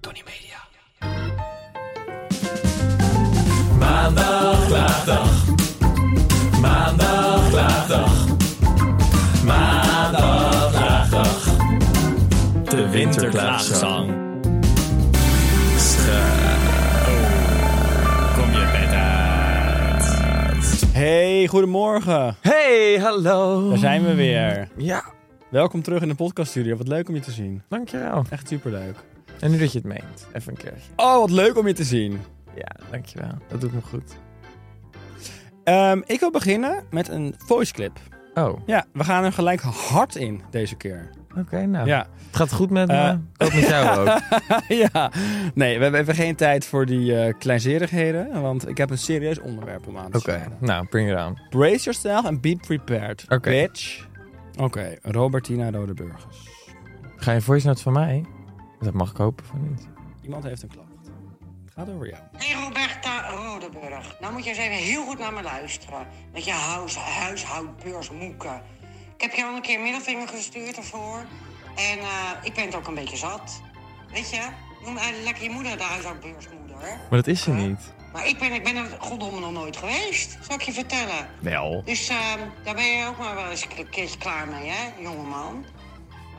Tony Media. Maandag, klaagdag. Maandag, klaagdag. Maandag, klaagdag. De winterklaagzang. Kom je bed uit. Hey, goedemorgen. Hey, hallo. Daar zijn we weer. Ja, Welkom terug in de podcaststudio. Wat leuk om je te zien. dankjewel. Echt superleuk. En nu dat je het meent, even een keertje. Oh, wat leuk om je te zien. Ja, dankjewel. Dat doet me goed. Ehm, ik wil beginnen met een voice clip. Oh, oké, Ja, we gaan er gelijk hard in deze keer. nou. Ja. Het gaat goed met Eh, me. Ik hoop met jou ook. ja. Nee, we hebben even geen tijd voor die eh, kleinzerigheden. Want ik heb een serieus onderwerp om aan te Oké, snijden. nou, bring it on. Brace yourself and be prepared, Oké. bitch. Oké, Robertina Rodeburgers. Ga je voice note van mij? Dat mag ik hopen van niet. Iemand heeft een klacht. Het gaat over jou. Hey Roberta Rodeburg, nou moet je eens even heel goed naar me luisteren. Met je huis, huishoudbeursmoeken. Ik heb je al een keer middelvinger gestuurd ervoor. En eh, ik ben het ook een beetje zat. Weet je, noem eigenlijk lekker je moeder de huishoudbeursmoeder. Maar dat is ze niet. Maar ik ben, ik ben er goddomme nog nooit geweest, zal ik je vertellen. Wel. Dus ehm, daar ben je ook maar wel eens een keertje klaar mee, hè, jongeman.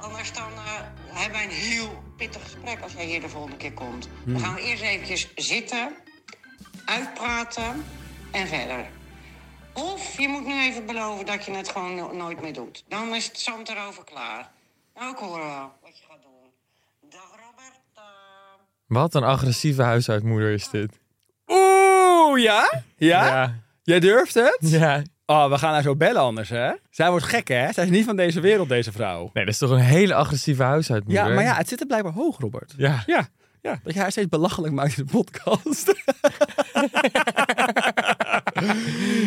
Anders dan eh, hebben wij een heel pittig gesprek als jij hier de volgende keer komt. Dan gaan we eerst eventjes zitten, uitpraten en verder. Of je moet nu even beloven dat je het gewoon no- nooit meer doet. Dan is het zand erover klaar. Nou, ik hoor wel wat je gaat doen. Dag Roberta. Wat een agressieve huishoudmoeder is dit. Oeh, ja? Ja? Ja. Jij durft het? Ja. Oh, we gaan haar zo bellen anders, hè? Zij wordt gek, hè? Zij is niet van deze wereld, deze vrouw. Nee, dat is toch een hele agressieve huishoudmoeder? Ja, maar ja, het zit er blijkbaar hoog, Robert. Ja. Ja, ja. dat je haar steeds belachelijk maakt in de podcast. Eh,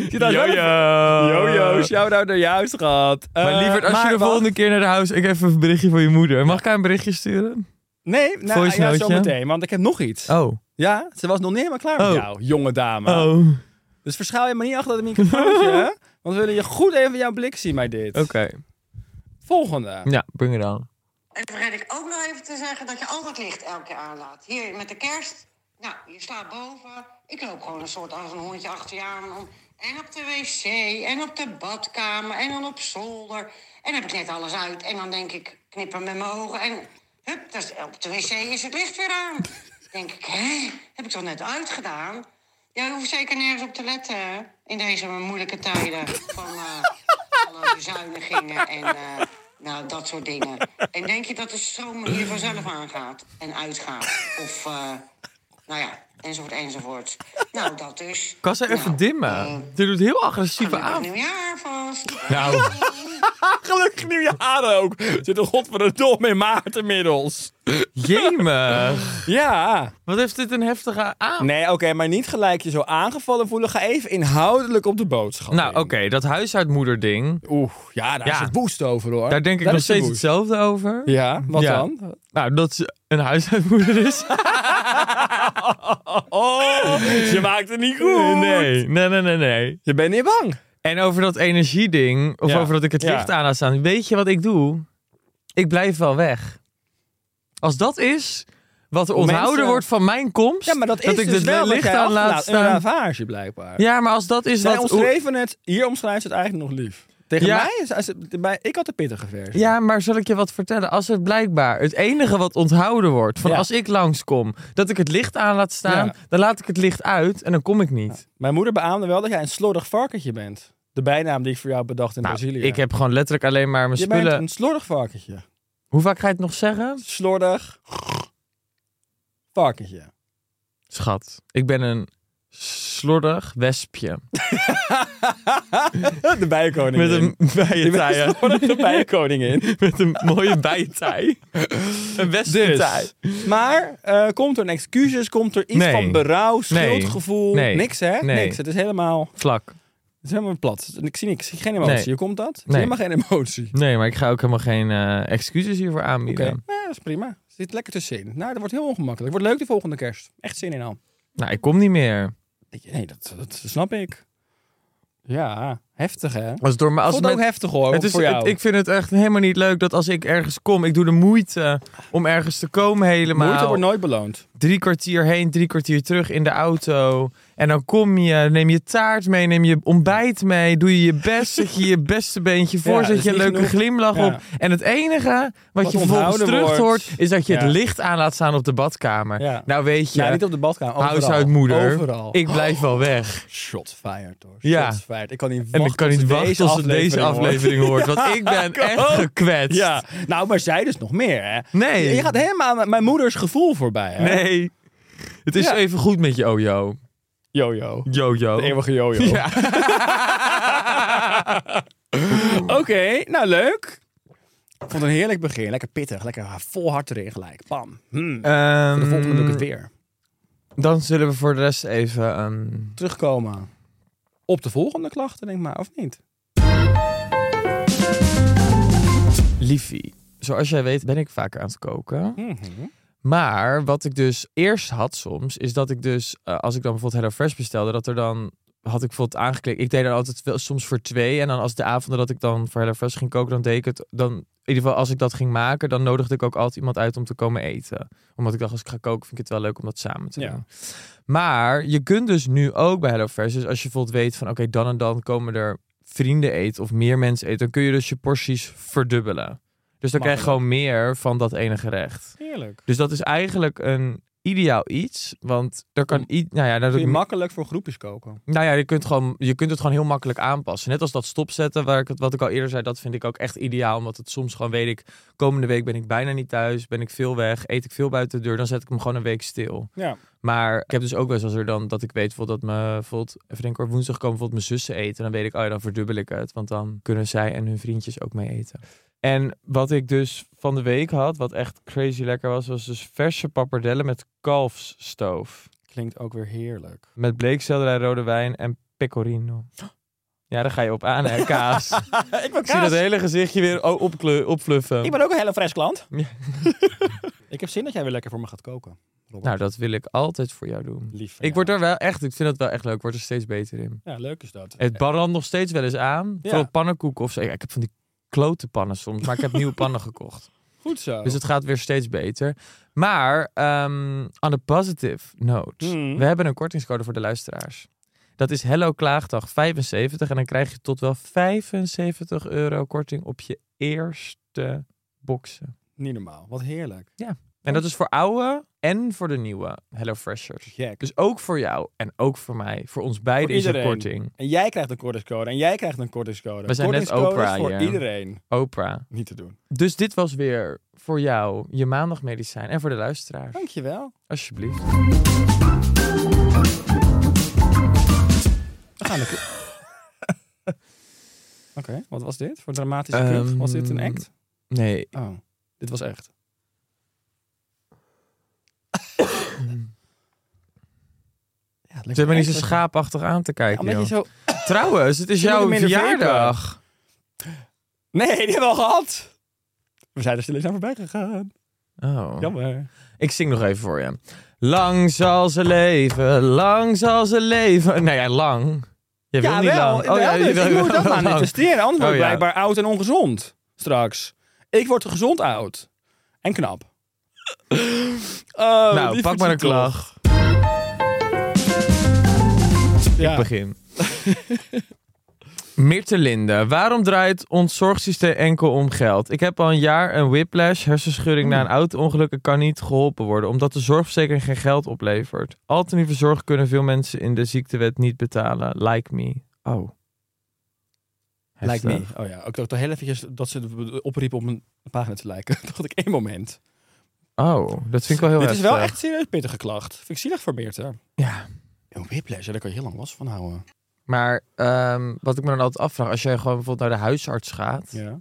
Zit daar Yo, wel een- yo. Jojo, shout-out naar jou, schat. Maar Eh, lieverd, als je de wat- volgende keer naar de huis... Ik even een berichtje voor je moeder. Mag ik haar een berichtje sturen? Nee, nou, Voice ja, noteje. zo meteen, want ik heb nog iets. Oh. Ja, ze was nog niet helemaal klaar met Oh. jou, jonge dame. Oh. Oké. Dus verschuil je maar niet achter dat microfoontje, hè? Want we willen je goed even jouw blik zien bij dit. Volgende. Ja, bring it on. En toen vergeet ik ook nog even te zeggen dat je altijd licht elke keer aanlaat. Hier met de kerst. Nou, je staat boven. Ik loop gewoon een soort als een hondje achter je aan. om- En op de wc, en op de badkamer, en dan op zolder. En heb ik net alles uit. En dan denk ik, knippen met mijn ogen. En hup, dat is, op de wc is het licht weer aan. denk ik, hè, heb ik toch net uitgedaan? Jij hoeft zeker nergens op te letten hè, in deze moeilijke tijden van eh, alle bezuinigingen en eh, nou, dat soort dingen. En denk je dat de stroom hier vanzelf aangaat en uitgaat? Of, eh, nou ja, enzovoort, enzovoort. Nou, dat dus. Kan zij even Nou, eh, dimmen? Dit doet heel agressieve Gelukkig aan. nieuwjaar vast. Nou. Gelukkig nieuwjaar ook. Zit een godverdomme in maart inmiddels. Jemig. Ja. Wat heeft dit een heftige aan? Nee, oké, maar niet gelijk je zo aangevallen voelen. Ga even inhoudelijk op de boodschap. Nou, in. oké, dat huishoudmoeder ding. Oeh, ja, daar Ja. is het woest over hoor. Daar denk ik Daar nog is het steeds woest. hetzelfde over. Ja, wat Ja. dan? Nou, dat ze een huishoudmoeder is. Oh, je maakt het niet goed. Nee, nee, nee, nee, nee. Je bent niet bang. En over dat energieding, of Ja. over dat ik het Ja. licht aan laat staan. Weet je wat ik doe? Ik blijf wel weg. Als dat is wat er onthouden Mensen- wordt van mijn komst, Ja, maar dat, is ik dus het wel wat licht jij aan laat achterlaat. Een staan. ravage blijkbaar. Ja, maar als dat is Zij wat... omschreven het, hier omschrijft ze het eigenlijk nog lief. Tegen Ja. mij, is- als het- bij- ik had de pittige versie. Ja, maar zal ik je wat vertellen? Als het blijkbaar het enige wat onthouden wordt van Ja. als ik langskom, dat ik het licht aan laat staan, Ja. nou, dan laat ik het licht uit en dan kom ik niet. Mijn moeder beaamde wel dat jij een slordig varkentje bent. De bijnaam die ik voor jou bedacht in Nou, Brazilië. ik heb gewoon letterlijk alleen maar mijn je bent spullen. een slordig varkentje. Hoe vaak ga je het nog zeggen? slordig varkentje. Schat, ik ben een slordig wespje. De bijenkoningin. Met een bijentij. een slordige bijenkoningin. Met een mooie bijentij. een wespentij. Dus. Maar eh, komt er een excuses, komt er iets Nee. van berouw, Nee. schuldgevoel? Nee. Niks hè? Nee. Niks. Het is helemaal, het Vlak. is helemaal plat. Ik zie niks. Ik zie geen emotie. Nee. Hoe komt dat? Ik zie Nee. helemaal geen emotie. Nee, maar ik ga ook helemaal geen eh, excuses hiervoor Oké, aanbieden. ja, dat is prima. Zit lekker tussenin. Nou, dat wordt heel ongemakkelijk. Wordt leuk de volgende kerst. Echt zin in al. Nou, ik kom niet meer. Nee, dat, dat snap ik. Ja, heftig hè? Als het door me, als Als Vond het het ook met- heftig hoor, het is, voor jou. het- ik vind het echt helemaal niet leuk dat als ik ergens kom, ik doe de moeite om ergens te komen helemaal. Moeite wordt nooit beloond. drie kwartier heen, drie kwartier terug in de auto. En dan kom je, neem je taart mee, neem je ontbijt mee, doe je je best, zet je je beste beentje voor, Ja, zet is je een niet leuke genoeg. glimlach Ja. op. En het enige wat, Wat je vervolgens onthouden terug wordt. hoort, is dat je Ja. het licht aan laat staan op de badkamer. Ja. Nou weet je, Ja, niet op de badkamer. Overal. huishoudmoeder, Overal. ik blijf wel weg. Shot fired hoor. Ja. Shots fired. Ik kan niet wachten En ik kan niet tot ze wachten als het deze hoort. aflevering hoort, want ik ben echt gekwetst. Ja, nou, maar zij dus nog meer, hè? Nee. Je, je gaat helemaal aan mijn moeders gevoel voorbij, hè? Nee. Het is Ja. even goed met je ojo. Jojo. Jojo. De eeuwige jojo. Ja. Oké, nou leuk. Ik vond het een heerlijk begin. Lekker pittig, lekker vol hard erin gelijk. Bam. Hmm. Ehm, de volgende doe ik het weer. Dan zullen we voor de rest even... ehm, Terugkomen op de volgende klachten, denk ik maar, of niet? Liefie, zoals jij weet ben ik vaker aan het koken. Maar wat ik dus eerst had soms, is dat ik dus... eh, als ik dan bijvoorbeeld HelloFresh bestelde, dat er dan... Had ik bijvoorbeeld aangeklikt. Ik deed er altijd wel, soms voor twee. En dan als de avonden dat ik dan voor HelloFresh ging koken, dan deed ik het... Dan, in ieder geval als ik dat ging maken, dan nodigde ik ook altijd iemand uit om te komen eten. Omdat ik dacht, als ik ga koken, vind ik het wel leuk om dat samen te Ja. doen. Maar je kunt dus nu ook bij HelloFresh, dus als je bijvoorbeeld weet van oké, dan en dan komen er vrienden eten of meer mensen eten, dan kun je dus je porties verdubbelen. Dus dan krijg je gewoon meer van dat ene gerecht. Heerlijk. Dus dat is eigenlijk een ideaal iets, want er kan i- nou ja, nou, Kun je dat- makkelijk voor groepjes koken. nou ja, je kunt, gewoon, je kunt het gewoon heel makkelijk aanpassen. Net als dat stopzetten, waar ik, het- wat ik al eerder zei, dat vind ik ook echt ideaal. Omdat het soms gewoon weet ik, komende week ben ik bijna niet thuis, ben ik veel weg, eet ik veel buiten de deur, dan zet ik hem gewoon een week stil. Ja. Maar ik heb dus ook wel eens als er dan dat ik weet bijvoorbeeld dat me bijvoorbeeld, even denken hoor, woensdag komen bijvoorbeeld mijn zussen eten. Dan weet ik, oh ja, dan verdubbel ik het. Want dan kunnen zij en hun vriendjes ook mee eten. En wat ik dus van de week had, wat echt crazy lekker was, was dus verse pappardellen met kalfsstoof. Klinkt ook weer heerlijk. Met bleekselderij, rode wijn en pecorino. Ja, daar ga je op aan, hè, kaas. ik wil Ik zie kaas. dat hele gezichtje weer oh, opkle- opfluffen. Ik ben ook een hele fres klant. Ja. ik heb zin dat jij weer lekker voor me gaat koken. Robert. Nou, dat wil ik altijd voor jou doen. Lief van jou. Ik word er wel echt, ik vind dat wel echt leuk. Ik word er steeds beter in. Ja, leuk is dat. Het brandt nog steeds wel eens aan. Vooral pannenkoeken of zo. Ja, ik heb van die klote pannen soms, maar ik heb nieuwe pannen gekocht. Goed zo. Dus het gaat weer steeds beter. Maar ehm on a positive note. Hmm. We hebben een kortingscode voor de luisteraars. Dat is Hello Klaagdag 75. En dan krijg je tot wel 75 euro korting op je eerste boxen. Niet normaal. Wat heerlijk. En dat is voor oude en voor de nieuwe Hello Freshers. Gek. Dus ook voor jou en ook voor mij. Voor ons beiden Voor is er iedereen. korting. En jij krijgt een kortingscode. En jij krijgt een kortingscode. We zijn net Kortingscodes Oprah voor hier. iedereen. Oprah. Niet te doen. Dus dit was weer voor jou je maandagmedicijn en voor de luisteraars. Dankjewel. Alsjeblieft. We gaan lekker. Oké, wat was dit voor dramatische kut? Was dit een Ehm, act? Nee, Oh, dit was echt. ja, het lijkt ze hebben me niet zo echt- schaapachtig aan te Ja, kijken. omdat je joh. zo... Trouwens, het is Ze moeten jouw minder verjaardag. Nee, die hebben we al gehad. We zijn er stil eens aan voorbij gegaan. Oh. Jammer. Ik zing nog even voor je. Lang zal ze leven, lang zal ze leven. Nee, ja, lang. Je wil niet lang. Oh, wel ja, je dus wil- ik je moet wil dat maar lang. manifesteren. Anders word ik Oh, ja. blijkbaar oud en ongezond straks. Ik word gezond oud. En knap. Oh, Nou, die pak maar een verdient toch. klag. Ja. Begin. Mirte Linde, waarom draait ons zorgsysteem enkel om geld? Ik heb al een jaar een whiplash, hersenschudding na een Hmm. auto-ongeluk en kan niet geholpen worden, omdat de zorgverzekering geen geld oplevert. Alternatieve zorg kunnen veel mensen in de ziektewet niet betalen. Like me. Oh. Lijkt Heftig. niet. Oh ja, ook, ook toch heel eventjes dat ze opriepen om een pagina te liken. Toen dacht ik één moment. Oh, dat vind ik wel heel Dit is wel heftig. echt serieus pittige klacht. Vind ik zielig voor Beerte. Ja. Een whiplash, hè, daar kan je heel lang last van houden. Maar ehm, wat ik me dan altijd afvraag, als jij gewoon bijvoorbeeld naar de huisarts gaat, Ja.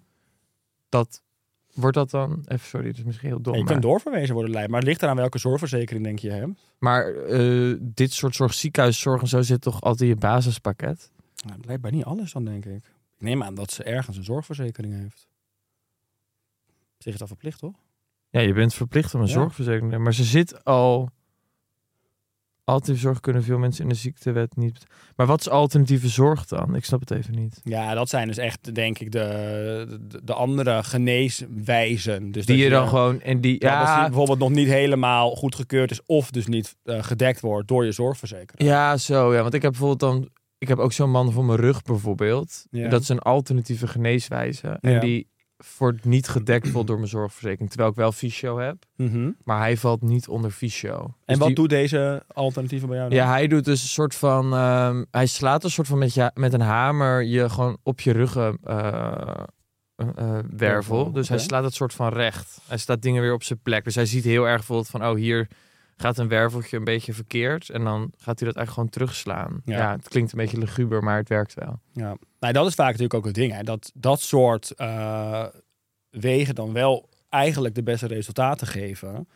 dat wordt dat dan. Even sorry, het is misschien heel dom. je maar kan doorverwezen worden, Lijn. Maar het ligt eraan welke zorgverzekering denk je hebt. maar eh, dit soort zorg, ziekenhuiszorg en zo zit toch altijd in je basispakket? Nou, blijkbaar niet alles dan, denk ik. Ik neem aan dat ze ergens een zorgverzekering heeft. Op zich is dat verplicht, toch? Ja, je bent verplicht om een Ja. zorgverzekering te nemen. Maar ze zit al. Alternatieve zorg kunnen veel mensen in de ziektewet niet. bet- Maar wat is alternatieve zorg dan? Ik snap het even niet. Ja, dat zijn dus echt, denk ik, de, de, de andere geneeswijzen. Dus Die dat je dan gewoon. En die, Ja, dat die ja, bijvoorbeeld nog niet helemaal goedgekeurd is of dus niet eh, gedekt wordt door je zorgverzekeraar. Ja, zo. Ja, want ik heb bijvoorbeeld dan. Ik heb ook zo'n man voor mijn rug bijvoorbeeld. Ja. Dat is een alternatieve geneeswijze. En Ja. die wordt niet gedekt vol door mijn zorgverzekering. Terwijl ik wel fysio heb. Dus Maar hij valt niet onder fysio. Dus Mhm. En wat die- doet deze alternatieven bij jou dan? Ja, hij doet dus een soort van. ehm, hij slaat een soort van met, je, met een hamer je gewoon op je ehm, ruggenwervel. eh, wervel Wervel, dus hij oké. slaat het soort van recht. Hij staat dingen weer op zijn plek. Dus hij ziet heel erg bijvoorbeeld van, oh hier gaat een werveltje een beetje verkeerd. En dan gaat hij dat eigenlijk gewoon terugslaan. Ja, Ja. het klinkt een beetje luguber, maar het werkt wel. Ja. Nou, dat is vaak natuurlijk ook het ding. Hè? Dat dat soort eh, wegen dan wel eigenlijk de beste resultaten geven.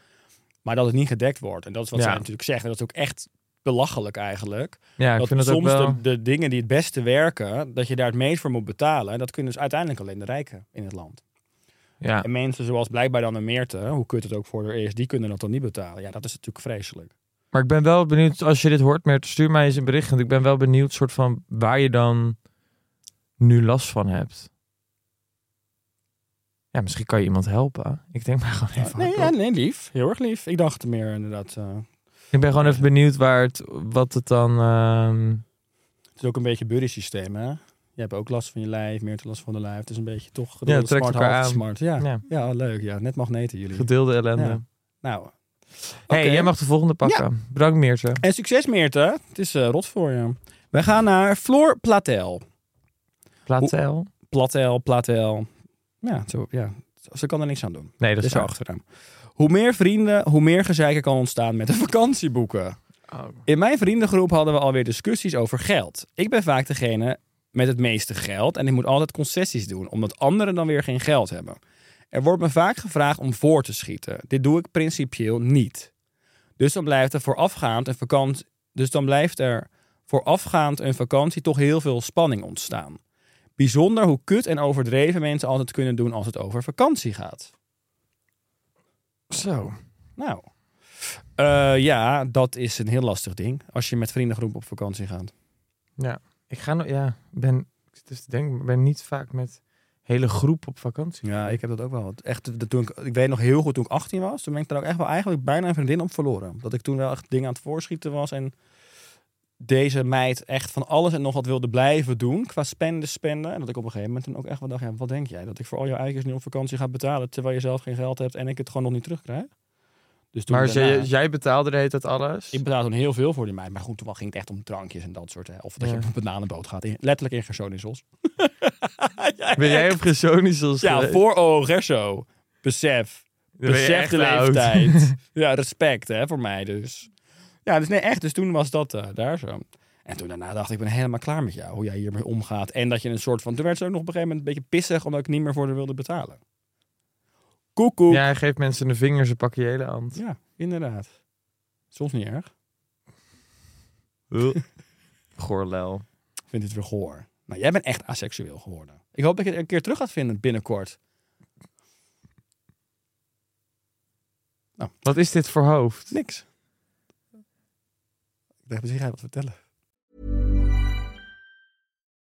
Maar dat het niet gedekt wordt. En dat is wat Ja. zij natuurlijk zegt. En dat is ook echt belachelijk eigenlijk. Ja, ik dat vind dat ook soms wel... de, de dingen die het beste werken, dat je daar het meest voor moet betalen. En dat kunnen dus uiteindelijk alleen de rijken in het land. Ja. En mensen zoals blijkbaar dan een Meerte, hoe kut het ook voor haar is, die kunnen dat dan niet betalen. Ja, dat is natuurlijk vreselijk. Maar ik ben wel benieuwd, als je dit hoort, Mert, stuur mij eens een bericht. Want ik ben wel benieuwd soort van waar je dan nu last van hebt. Ja, misschien kan je iemand helpen. Ik denk maar gewoon even. nee, hardop. ja, nee, lief. Heel erg lief. Ik dacht meer inderdaad. eh, Ik ben gewoon even benieuwd waar het, wat het dan. ehm, het is ook een beetje buddy systeem, hè? Je hebt ook last van je lijf, Meerte last van de lijf. Het is een beetje toch Ja, het smart, trekt elkaar half aan. smart. Ja. ja, ja, leuk. Ja, net magneten jullie. gedeelde ellende. Ja. Nou. hey, oké. jij mag de volgende pakken. Bedankt, Meerte. En succes Meerte. Het is eh, rot voor je. Wij gaan naar Floor Platel. Platel. Platel, Platel. Ja, zo, ja. ze kan er niks aan doen. Nee, Dat dat is is haar waar. achternaam. Hoe meer vrienden, hoe meer gezeiken kan ontstaan met de vakantieboeken. In mijn vriendengroep hadden we alweer discussies over geld. Ik ben vaak degene met het meeste geld en ik moet altijd concessies doen, omdat anderen dan weer geen geld hebben. Er wordt me vaak gevraagd om voor te schieten. Dit doe ik principieel niet. Dus dan blijft er voorafgaand een vakantie, dus dan blijft er voorafgaand een vakantie toch heel veel spanning ontstaan. Bijzonder hoe kut en overdreven mensen altijd kunnen doen als het over vakantie gaat. Zo. Nou, Eh, ja, dat is een heel lastig ding. Als je met vriendengroep op vakantie gaat. Ik ga nog. Ja, ik ben. Ik zit even te denken, ik ben niet vaak met hele groep op vakantie. Ja, ik heb dat ook wel. Echt, dat toen ik, ik weet nog heel goed toen ik 18 was. Toen ben ik daar ook echt wel eigenlijk bijna een vriendin op verloren. Dat ik toen wel echt dingen aan het voorschieten was. En deze meid echt van alles en nog wat wilde blijven doen. Qua spenden, spenden. En dat ik op een gegeven moment toen ook echt wel dacht. Ja, wat denk jij? Dat ik voor al jouw uitjes nu op vakantie ga betalen. Terwijl je zelf geen geld hebt. En ik het gewoon nog niet terugkrijg. Dus toen Maar daarna- jij, jij betaalde de hele tijd alles. Ik betaalde toen heel veel voor die meid. Maar goed, toen ging het echt om drankjes en dat soort. Hè. Of dat Ja. je op een bananenboot gaat. In, letterlijk in Gersonisos. Ben jij op Gersonisos Ja, geweest? voor oh, Gerso. Besef. Dan ben je Besef echt de oud. leeftijd. ja, respect hè, voor mij dus. Ja, dus nee, echt. Dus toen was dat eh, daar zo. En toen daarna dacht ik, ik ben helemaal klaar met jou. Hoe jij hiermee omgaat. En dat je een soort van... Toen werd ze ook nog op een gegeven moment een beetje pissig... omdat ik niet meer voor haar wilde betalen. Koekoek. Ja, hij geeft mensen de vingers, ze pakken je hele hand. ja inderdaad. Soms niet erg. Goorlel. Ik vind dit weer goor. Nou, jij bent echt asexueel geworden. Ik hoop dat je het een keer terug gaat vinden binnenkort. Wat is dit voor hoofd? Niks. Ik dacht, misschien ga je wat vertellen.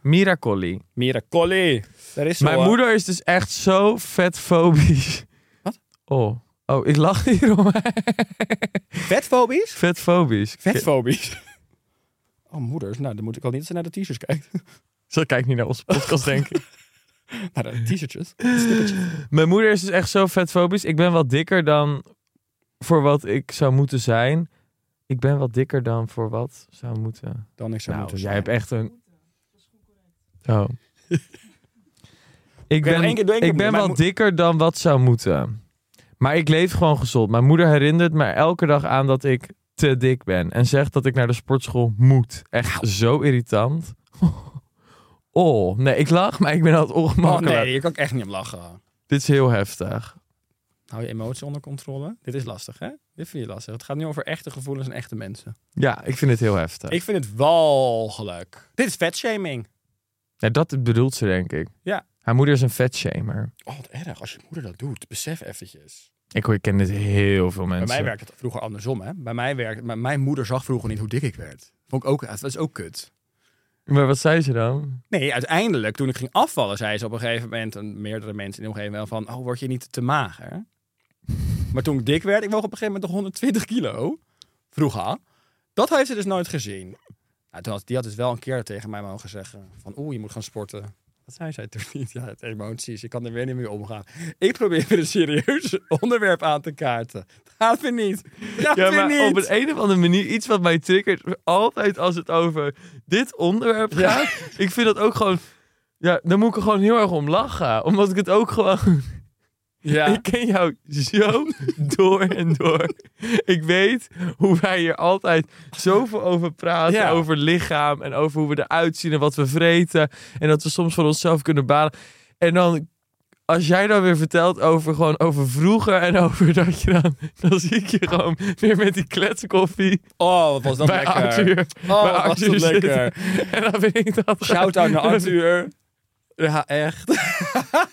Miracoli. Miracoli. Daar is ze Mijn al. moeder is dus echt zo vetfobisch. Wat? Oh. Oh, ik lach hierom. Vetfobisch? vetfobisch. Vetfobisch. Oh, moeders. Nou, dan moet ik al niet dat ze naar de t-shirts kijkt. Ze kijkt niet naar onze Oh. podcast, denk ik. naar de t-shirtjes. Mijn moeder is dus echt zo vetfobisch. Ik ben wat dikker dan voor wat ik zou moeten zijn. Ik ben wat dikker dan voor wat zou moeten. Dan ik zou nou, moeten jij zijn. hebt echt een. Oh. ik nog één keer- ben, doe één keer ik opnieuw. ben Mijn wat moe- dikker dan wat zou moeten. Maar ik leef gewoon gezond. Mijn moeder herinnert me elke dag aan dat ik te dik ben. En zegt dat ik naar de sportschool moet. Echt zo irritant. Oh, nee, ik lach, maar ik ben altijd Oh ongemakkelijk. nee, hier kan ik echt niet om lachen. Dit is heel heftig. Hou je emotie onder controle. Dit is lastig, hè? Dit vind je lastig. Het gaat nu over echte gevoelens en echte mensen. Ja, ik vind het heel heftig. Ik vind het walgelijk. Dit is vetshaming. Ja, dat bedoelt ze, denk ik. Ja. Haar moeder is een vetshamer. Oh, wat erg. Als je moeder dat doet, besef eventjes. Ik hoor, ik ken dit heel veel Bij mensen. mij werkte het vroeger andersom, hè? Bij mij werkte, maar mijn moeder zag vroeger niet hoe dik ik werd. Vond ik ook, dat is ook kut. Maar wat zei ze dan? Nee, uiteindelijk, toen ik ging afvallen, zei ze op een gegeven moment, en meerdere mensen in de omgeving wel van, oh, word je niet te mager? maar toen ik dik werd, ik woog op een gegeven moment nog 120 kilo. Vroeger. Dat heeft ze dus nooit gezien. Nou, toen had, die had dus wel een keer tegen mij mogen zeggen van, oeh, je moet gaan sporten. Dat zei zij toen niet. Ja, het emoties. Ik kan er weer niet mee omgaan. Ik probeer weer een serieus onderwerp aan te kaarten. Dat gaat weer niet. Dat gaat Ja, weer maar niet. op een, een of andere manier iets wat mij triggert. Altijd als het over dit onderwerp Ja. gaat. Ik vind dat ook gewoon... Ja, dan moet ik er gewoon heel erg om lachen. Omdat ik het ook gewoon... Ja. Ik ken jou zo door en door. Ik weet hoe wij hier altijd zoveel over praten. Ja. Over lichaam en over hoe we eruit zien en wat we vreten. En dat we soms van onszelf kunnen balen. En dan, als jij dan weer vertelt over, gewoon over vroeger en over dat je dan... Dan zie ik je gewoon weer met die kletskoffie Oh, wat was dat bij lekker. Arthur. Oh, bij wat was dat zitten. lekker. En dan vind ik dat... Shout-out naar Arthur. Ja, echt.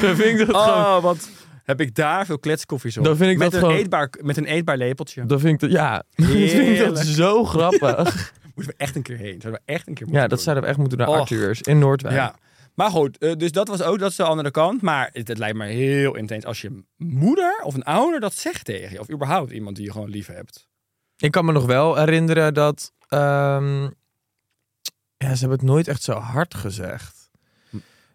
Dan vind ik dat gewoon... Oh, wat heb ik daar veel kletskoffies op. Dan vind ik met, dat een gewoon- eetbaar, met een eetbaar lepeltje. Dan vind ik dat... Ja, dan vind ik dat Heerlijk. zo grappig. Moeten we echt een keer heen. Zouden we echt een keer moeten Ja, dat doen. zouden we echt moeten doen naar Och. Arthurs in Noordwijk. Ja. Maar goed, eh, dus dat was ook dat is de andere kant. Maar het, het lijkt me heel intens als je moeder of een ouder dat zegt tegen je. Of überhaupt iemand die je gewoon lief hebt. Ik kan me nog wel herinneren dat... ehm, ja, ze hebben het nooit echt zo hard gezegd.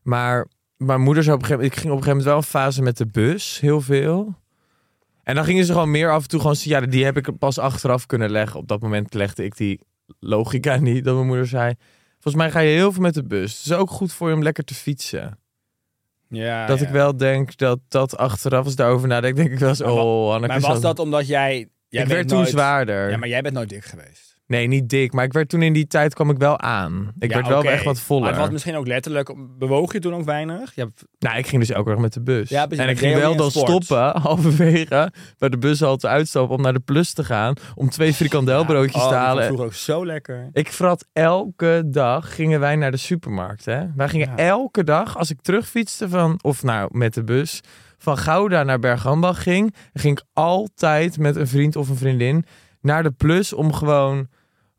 Maar mijn moeder zou op een gegeven moment... Ik ging op een gegeven moment wel een fase met de bus, heel veel. En dan gingen ze gewoon meer af en toe gewoon... Ja, die heb ik pas achteraf kunnen leggen. Op dat moment legde ik die logica niet. Dat mijn moeder zei... Volgens mij ga je heel veel met de bus. Het is ook goed voor je om lekker te fietsen. Ja, dat ja. ik wel denk dat dat achteraf, als ik daarover nadenk, denk ik wel eens... wa- Oh, Hanneke Maar was zou- dat omdat jij... jij ik bent werd toen nooit- zwaarder. Ja, maar jij bent nooit dik geweest. Nee, niet dik. Maar ik werd toen in die tijd kwam ik wel aan. Ik Ja, werd wel oké. echt wat Maar voller. het was misschien ook letterlijk... Bewoog je toen ook weinig? Je hebt Nou, ik ging dus elke dag met de bus. Ja, precies, en maar ik ging deed je wel ook dan niet aan sport? stoppen, halverwege, bij de bus al te uitstappen om naar de plus te gaan. Om twee frikandelbroodjes oh, te dat vond ik halen. vroeger ook zo lekker. Ik vrat elke dag gingen wij naar de supermarkt. Hè? Wij gingen Ja. elke dag, als ik terugfietste van, of nou met de bus, van Gouda naar Bergambach ging, ging ik altijd met een vriend of een vriendin naar de plus om gewoon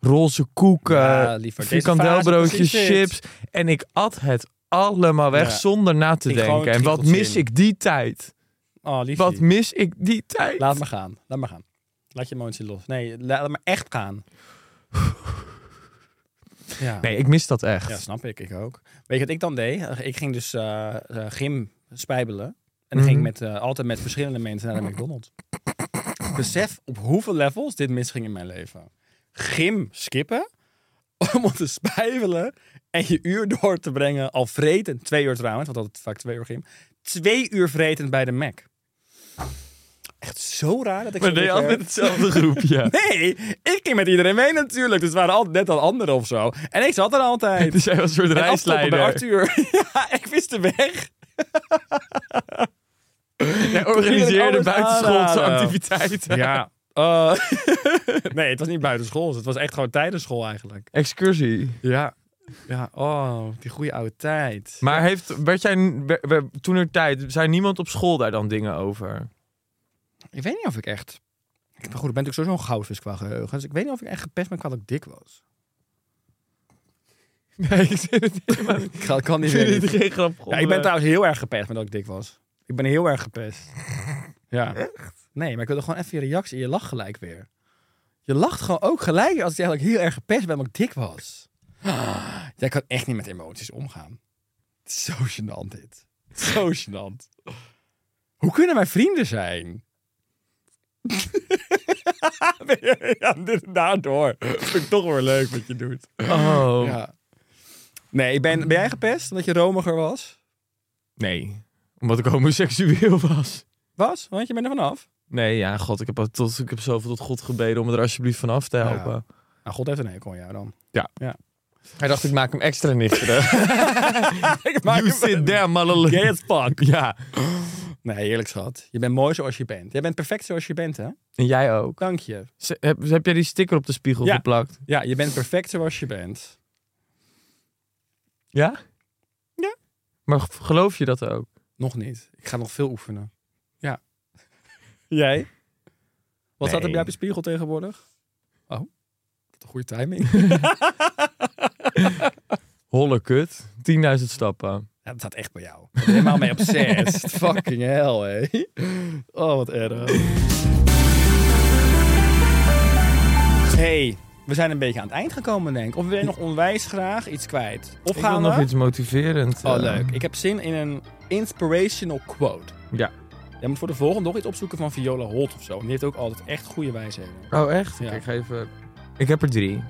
roze koeken, Ja, liever. Deze frikandelbroodjes, fase, precies chips. dit. En ik at het allemaal weg Ja. zonder na te Ik gewoon denken. En wat trieteltje mis in. ik die tijd? Oh, liefje. Wat mis ik die tijd? Laat maar gaan. Laat maar gaan. Laat je emotie los. Nee, laat me echt gaan. Ja. Nee, ik mis dat echt. ja, snap ik. Ik ook. Weet je wat ik dan deed? Ik ging dus eh, eh, gym spijbelen. En dan ging ik Mhm. met, eh, altijd met verschillende mensen naar de McDonald's. Besef op hoeveel levels dit misging in mijn leven. Gym skippen. Om te spijbelen. En je uur door te brengen. Al vretend. Twee uur trouwens. Want altijd vaak twee uur gym. Twee uur vretend bij de Mac. Echt zo raar dat ik maar zo deed je dik werd. altijd hetzelfde groepje. Nee, ik ging met iedereen mee natuurlijk. Dus het waren altijd net al anderen of zo. En ik zat er altijd. Dus jij was een soort En afstappen bij reisleider. Arthur. ja, ik wist de weg. Jij organiseerde alles buitenschoolse aanraden. activiteiten. Oh. Ja. Eh, nee, het was niet buitenschool. Het was echt gewoon tijdens school eigenlijk. Excursie. Ja. Ja, oh, die goede oude tijd. Maar heeft, werd jij, toen er tijd, zei niemand op school daar dan dingen over? Ik weet niet of ik echt... Maar goed, ik ben natuurlijk sowieso een goudvis qua geheugen. Dus ik weet niet of ik echt gepest ben qua dat ik dik was. Nee, ik vind het helemaal niet. Ik ga- kan Ik niet meer. vind het geen grap. Ja, ik ben trouwens heel erg gepest met dat ik dik was. Ik ben heel erg gepest. Ja. Nee, maar ik wilde gewoon even je reactie. Je lacht gelijk weer. Je lacht gewoon ook gelijk als ik eigenlijk heel erg gepest ben omdat ik dik was. Ah, Jij kan echt niet met emoties omgaan. Het is zo gênant dit. Zo gênant. Hoe kunnen wij vrienden zijn? ja, dit- daardoor. Vind ik toch weer leuk wat je doet. Oh. Ja. Nee, ik ben, ben jij gepest omdat je romiger was? Nee, omdat ik homoseksueel was. Was? Want je bent er vanaf. Nee, ja, god, ik heb, al tot, ik heb zoveel tot God gebeden om me er alsjeblieft vanaf te helpen. Nou, God heeft een hekel aan jou dan. Hij dacht, ik maak hem extra nichterig. ik you sit there, malala. Gay as fuck. Ja, Nee, heerlijk schat. Je bent mooi zoals je bent. Jij bent perfect zoals je bent, hè? en jij ook. Dank je. Z- heb, heb jij die sticker op de spiegel Ja. geplakt? Ja, je bent perfect zoals je bent. Ja? Ja. Maar g- geloof je dat ook? Nog niet. Ik ga nog veel oefenen. Ja. Jij? Wat staat er bij Nee. jou op je spiegel tegenwoordig? Oh, wat een goede timing. Holle kut. 10.000 stappen. Ja, dat staat echt bij jou. Ik ben helemaal mee obsessed. Fucking hell, hé. Oh, wat erg. hey, we zijn een beetje aan het eind gekomen, denk ik. Of wil je nog onwijs graag iets kwijt? Of Ik wil gaan we? nog iets motiverends. Oh, eh, leuk. Ik heb zin in een inspirational quote. Ja. Jij moet voor de volgende nog iets opzoeken van Viola Holt of zo. Die heeft ook altijd echt goede wijsheden. Oh, echt? Ja. Kijk, ik, ga even... ik heb er drie.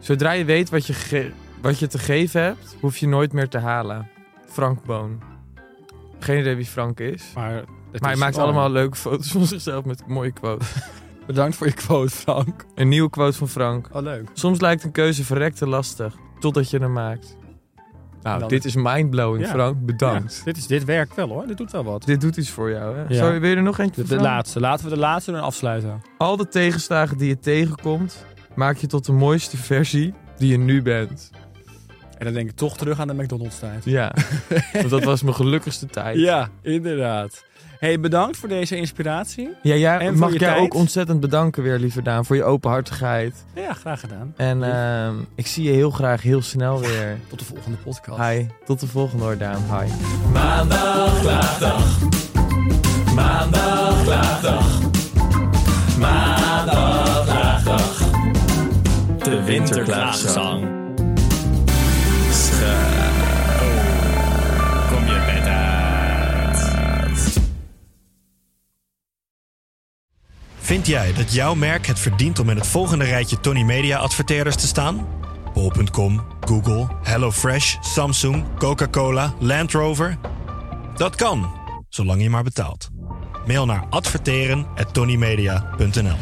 Zodra je weet wat je, ge- wat je te geven hebt, hoef je nooit meer te halen. Frank Boon. Geen idee wie Frank is. Maar, het maar hij is- maakt oh. allemaal leuke foto's van zichzelf met mooie quotes. Bedankt voor je quote, Frank. Een nieuwe quote van Frank. Oh, leuk. Soms lijkt een keuze verrekte lastig, totdat je hem maakt. Nou, Dan- dit is mindblowing, Ja. Frank. Bedankt. Ja, dit, is, dit werkt wel, hoor. Dit doet wel wat. Dit doet iets voor jou, hè? Ja. Zou je weer er nog eentje De, van? de laatste. Laten we de laatste dan afsluiten. Al de tegenslagen die je tegenkomt, maak je tot de mooiste versie die je nu bent. En dan denk ik toch terug aan de McDonald's tijd. Ja, want dat was mijn gelukkigste tijd. Ja, inderdaad. hey, bedankt voor deze inspiratie. Ja, jij- En voor mag je jij tijd. ook ontzettend bedanken weer, lieve Daan, voor je openhartigheid. Ja, graag gedaan. En ehm, ik zie je heel graag heel snel weer. Tot de volgende podcast. Hi, tot de volgende hoor, Daan. Hi. De winterklaagzang. Kom je bed uit. Vind jij dat jouw merk het verdient om in het volgende rijtje Tony Media adverteerders te staan? Bol.com, Google, HelloFresh, Samsung, Coca-Cola, Land Rover? Dat kan, zolang je maar betaalt. Mail naar adverteren@tonymedia.nl.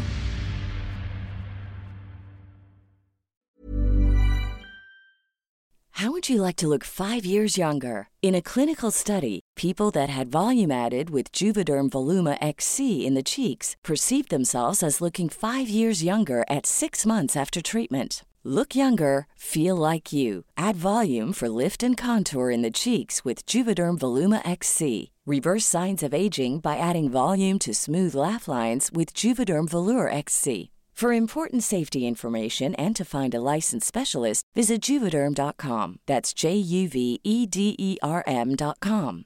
How would you like to look five years younger? In a clinical study, people that had volume added with Juvederm Voluma XC in the cheeks perceived themselves as looking five years younger at six months after treatment. Look younger, feel like you. Add volume for lift and contour in the cheeks with Juvederm Voluma XC. Reverse signs of aging by adding volume to smooth laugh lines with Juvederm Volure XC. For important safety information and to find a licensed specialist, visit juvederm.com. That's J U V E D E R M.com.